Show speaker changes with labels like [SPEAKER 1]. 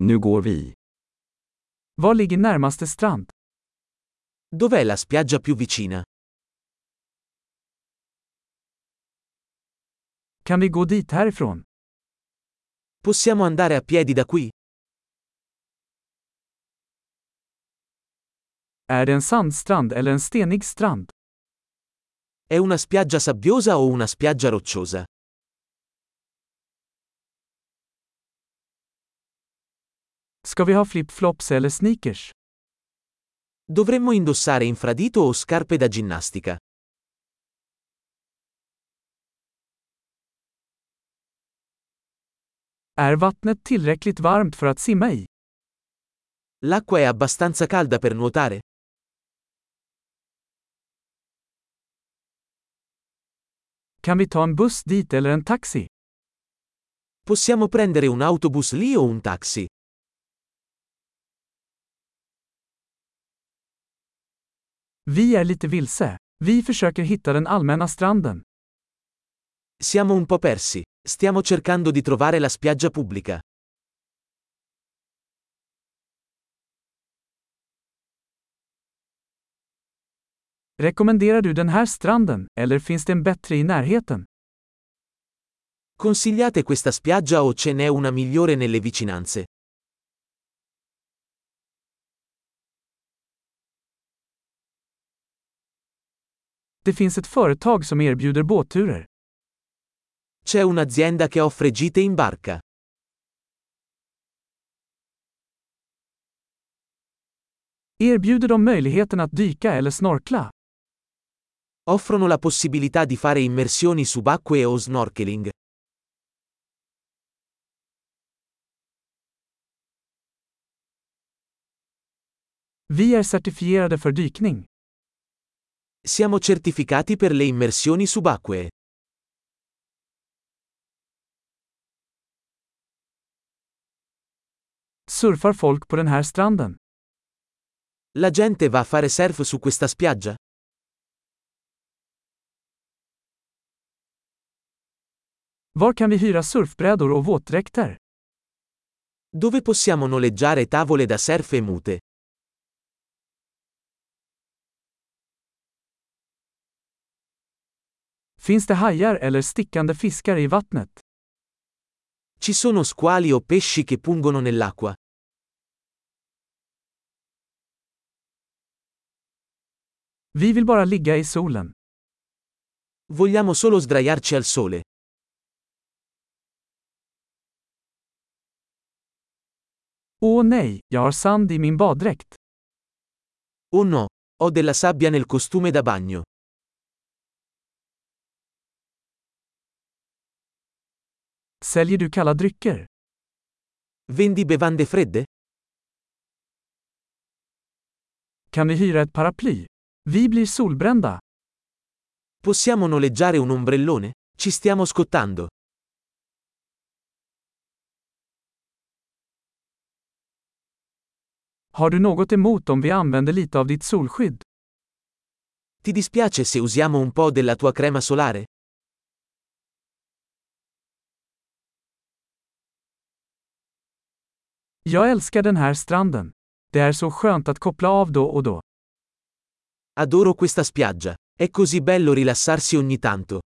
[SPEAKER 1] Nu går vi.
[SPEAKER 2] Var ligger närmaste strand?
[SPEAKER 3] Dov'è la spiaggia più vicina?
[SPEAKER 2] Kan vi gå dit härifrån?
[SPEAKER 3] Possiamo andare a piedi da qui?
[SPEAKER 2] Är det en sandstrand eller en stenig strand?
[SPEAKER 3] È una spiaggia sabbiosa o una spiaggia rocciosa?
[SPEAKER 2] Ska vi ha flip-flops eller sneakers?
[SPEAKER 3] Dovremmo indossare infradito o scarpe da ginnastica.
[SPEAKER 2] Är vattnet tillräckligt varmt för att simma i?
[SPEAKER 3] L'acqua è abbastanza calda per nuotare?
[SPEAKER 2] Kan vi ta en buss dit eller en taxi?
[SPEAKER 3] Possiamo prendere un autobus lì o un taxi?
[SPEAKER 2] Vi är lite vilse. Vi försöker hitta den allmänna stranden.
[SPEAKER 3] Siamo un po' persi. Stiamo cercando di trovare la spiaggia pubblica.
[SPEAKER 2] Rekommenderar du den här stranden, eller finns det en bättre i närheten?
[SPEAKER 3] Consigliate questa spiaggia o ce n'è una migliore nelle vicinanze?
[SPEAKER 2] Det finns ett företag som erbjuder båtturer.
[SPEAKER 3] C'è un'azienda che offre gite in barca.
[SPEAKER 2] Erbjuder de möjligheten att dyka eller snorkla?
[SPEAKER 3] Offrono la possibilità di fare immersioni subacquee o snorkeling.
[SPEAKER 2] Vi är certifierade för dykning.
[SPEAKER 3] Siamo certificati per le immersioni subacquee.
[SPEAKER 2] Surfar folk på den här stranden?
[SPEAKER 3] La gente va a fare surf su questa spiaggia?
[SPEAKER 2] Var kan vi hyra surfbrädor och våtdräkter?
[SPEAKER 3] Dove possiamo noleggiare tavole da surf e mute?
[SPEAKER 2] Finns det hajar eller stickande fiskar i vattnet?
[SPEAKER 3] Ci sono squali o pesci che pungono nell'acqua?
[SPEAKER 2] Vi vill bara ligga i solen.
[SPEAKER 3] Vogliamo solo sdraiarci al sole.
[SPEAKER 2] Åh nej, jag har sand i min baddräkt.
[SPEAKER 3] Oh no, ho della sabbia nel costume da bagno.
[SPEAKER 2] Säljer du kalla drycker?
[SPEAKER 3] Vendi bevande fredde?
[SPEAKER 2] Kan vi hyra ett paraply? Vi blir solbrända.
[SPEAKER 3] Possiamo noleggiare un ombrellone? Ci stiamo scottando.
[SPEAKER 2] Har du något emot om vi använder lite av ditt solskydd?
[SPEAKER 3] Ti dispiace se usiamo un po' della tua crema solare?
[SPEAKER 2] Jag älskar den här stranden. Det är så skönt att koppla av då och då.
[SPEAKER 3] Adoro questa spiaggia. È così bello rilassarsi ogni tanto.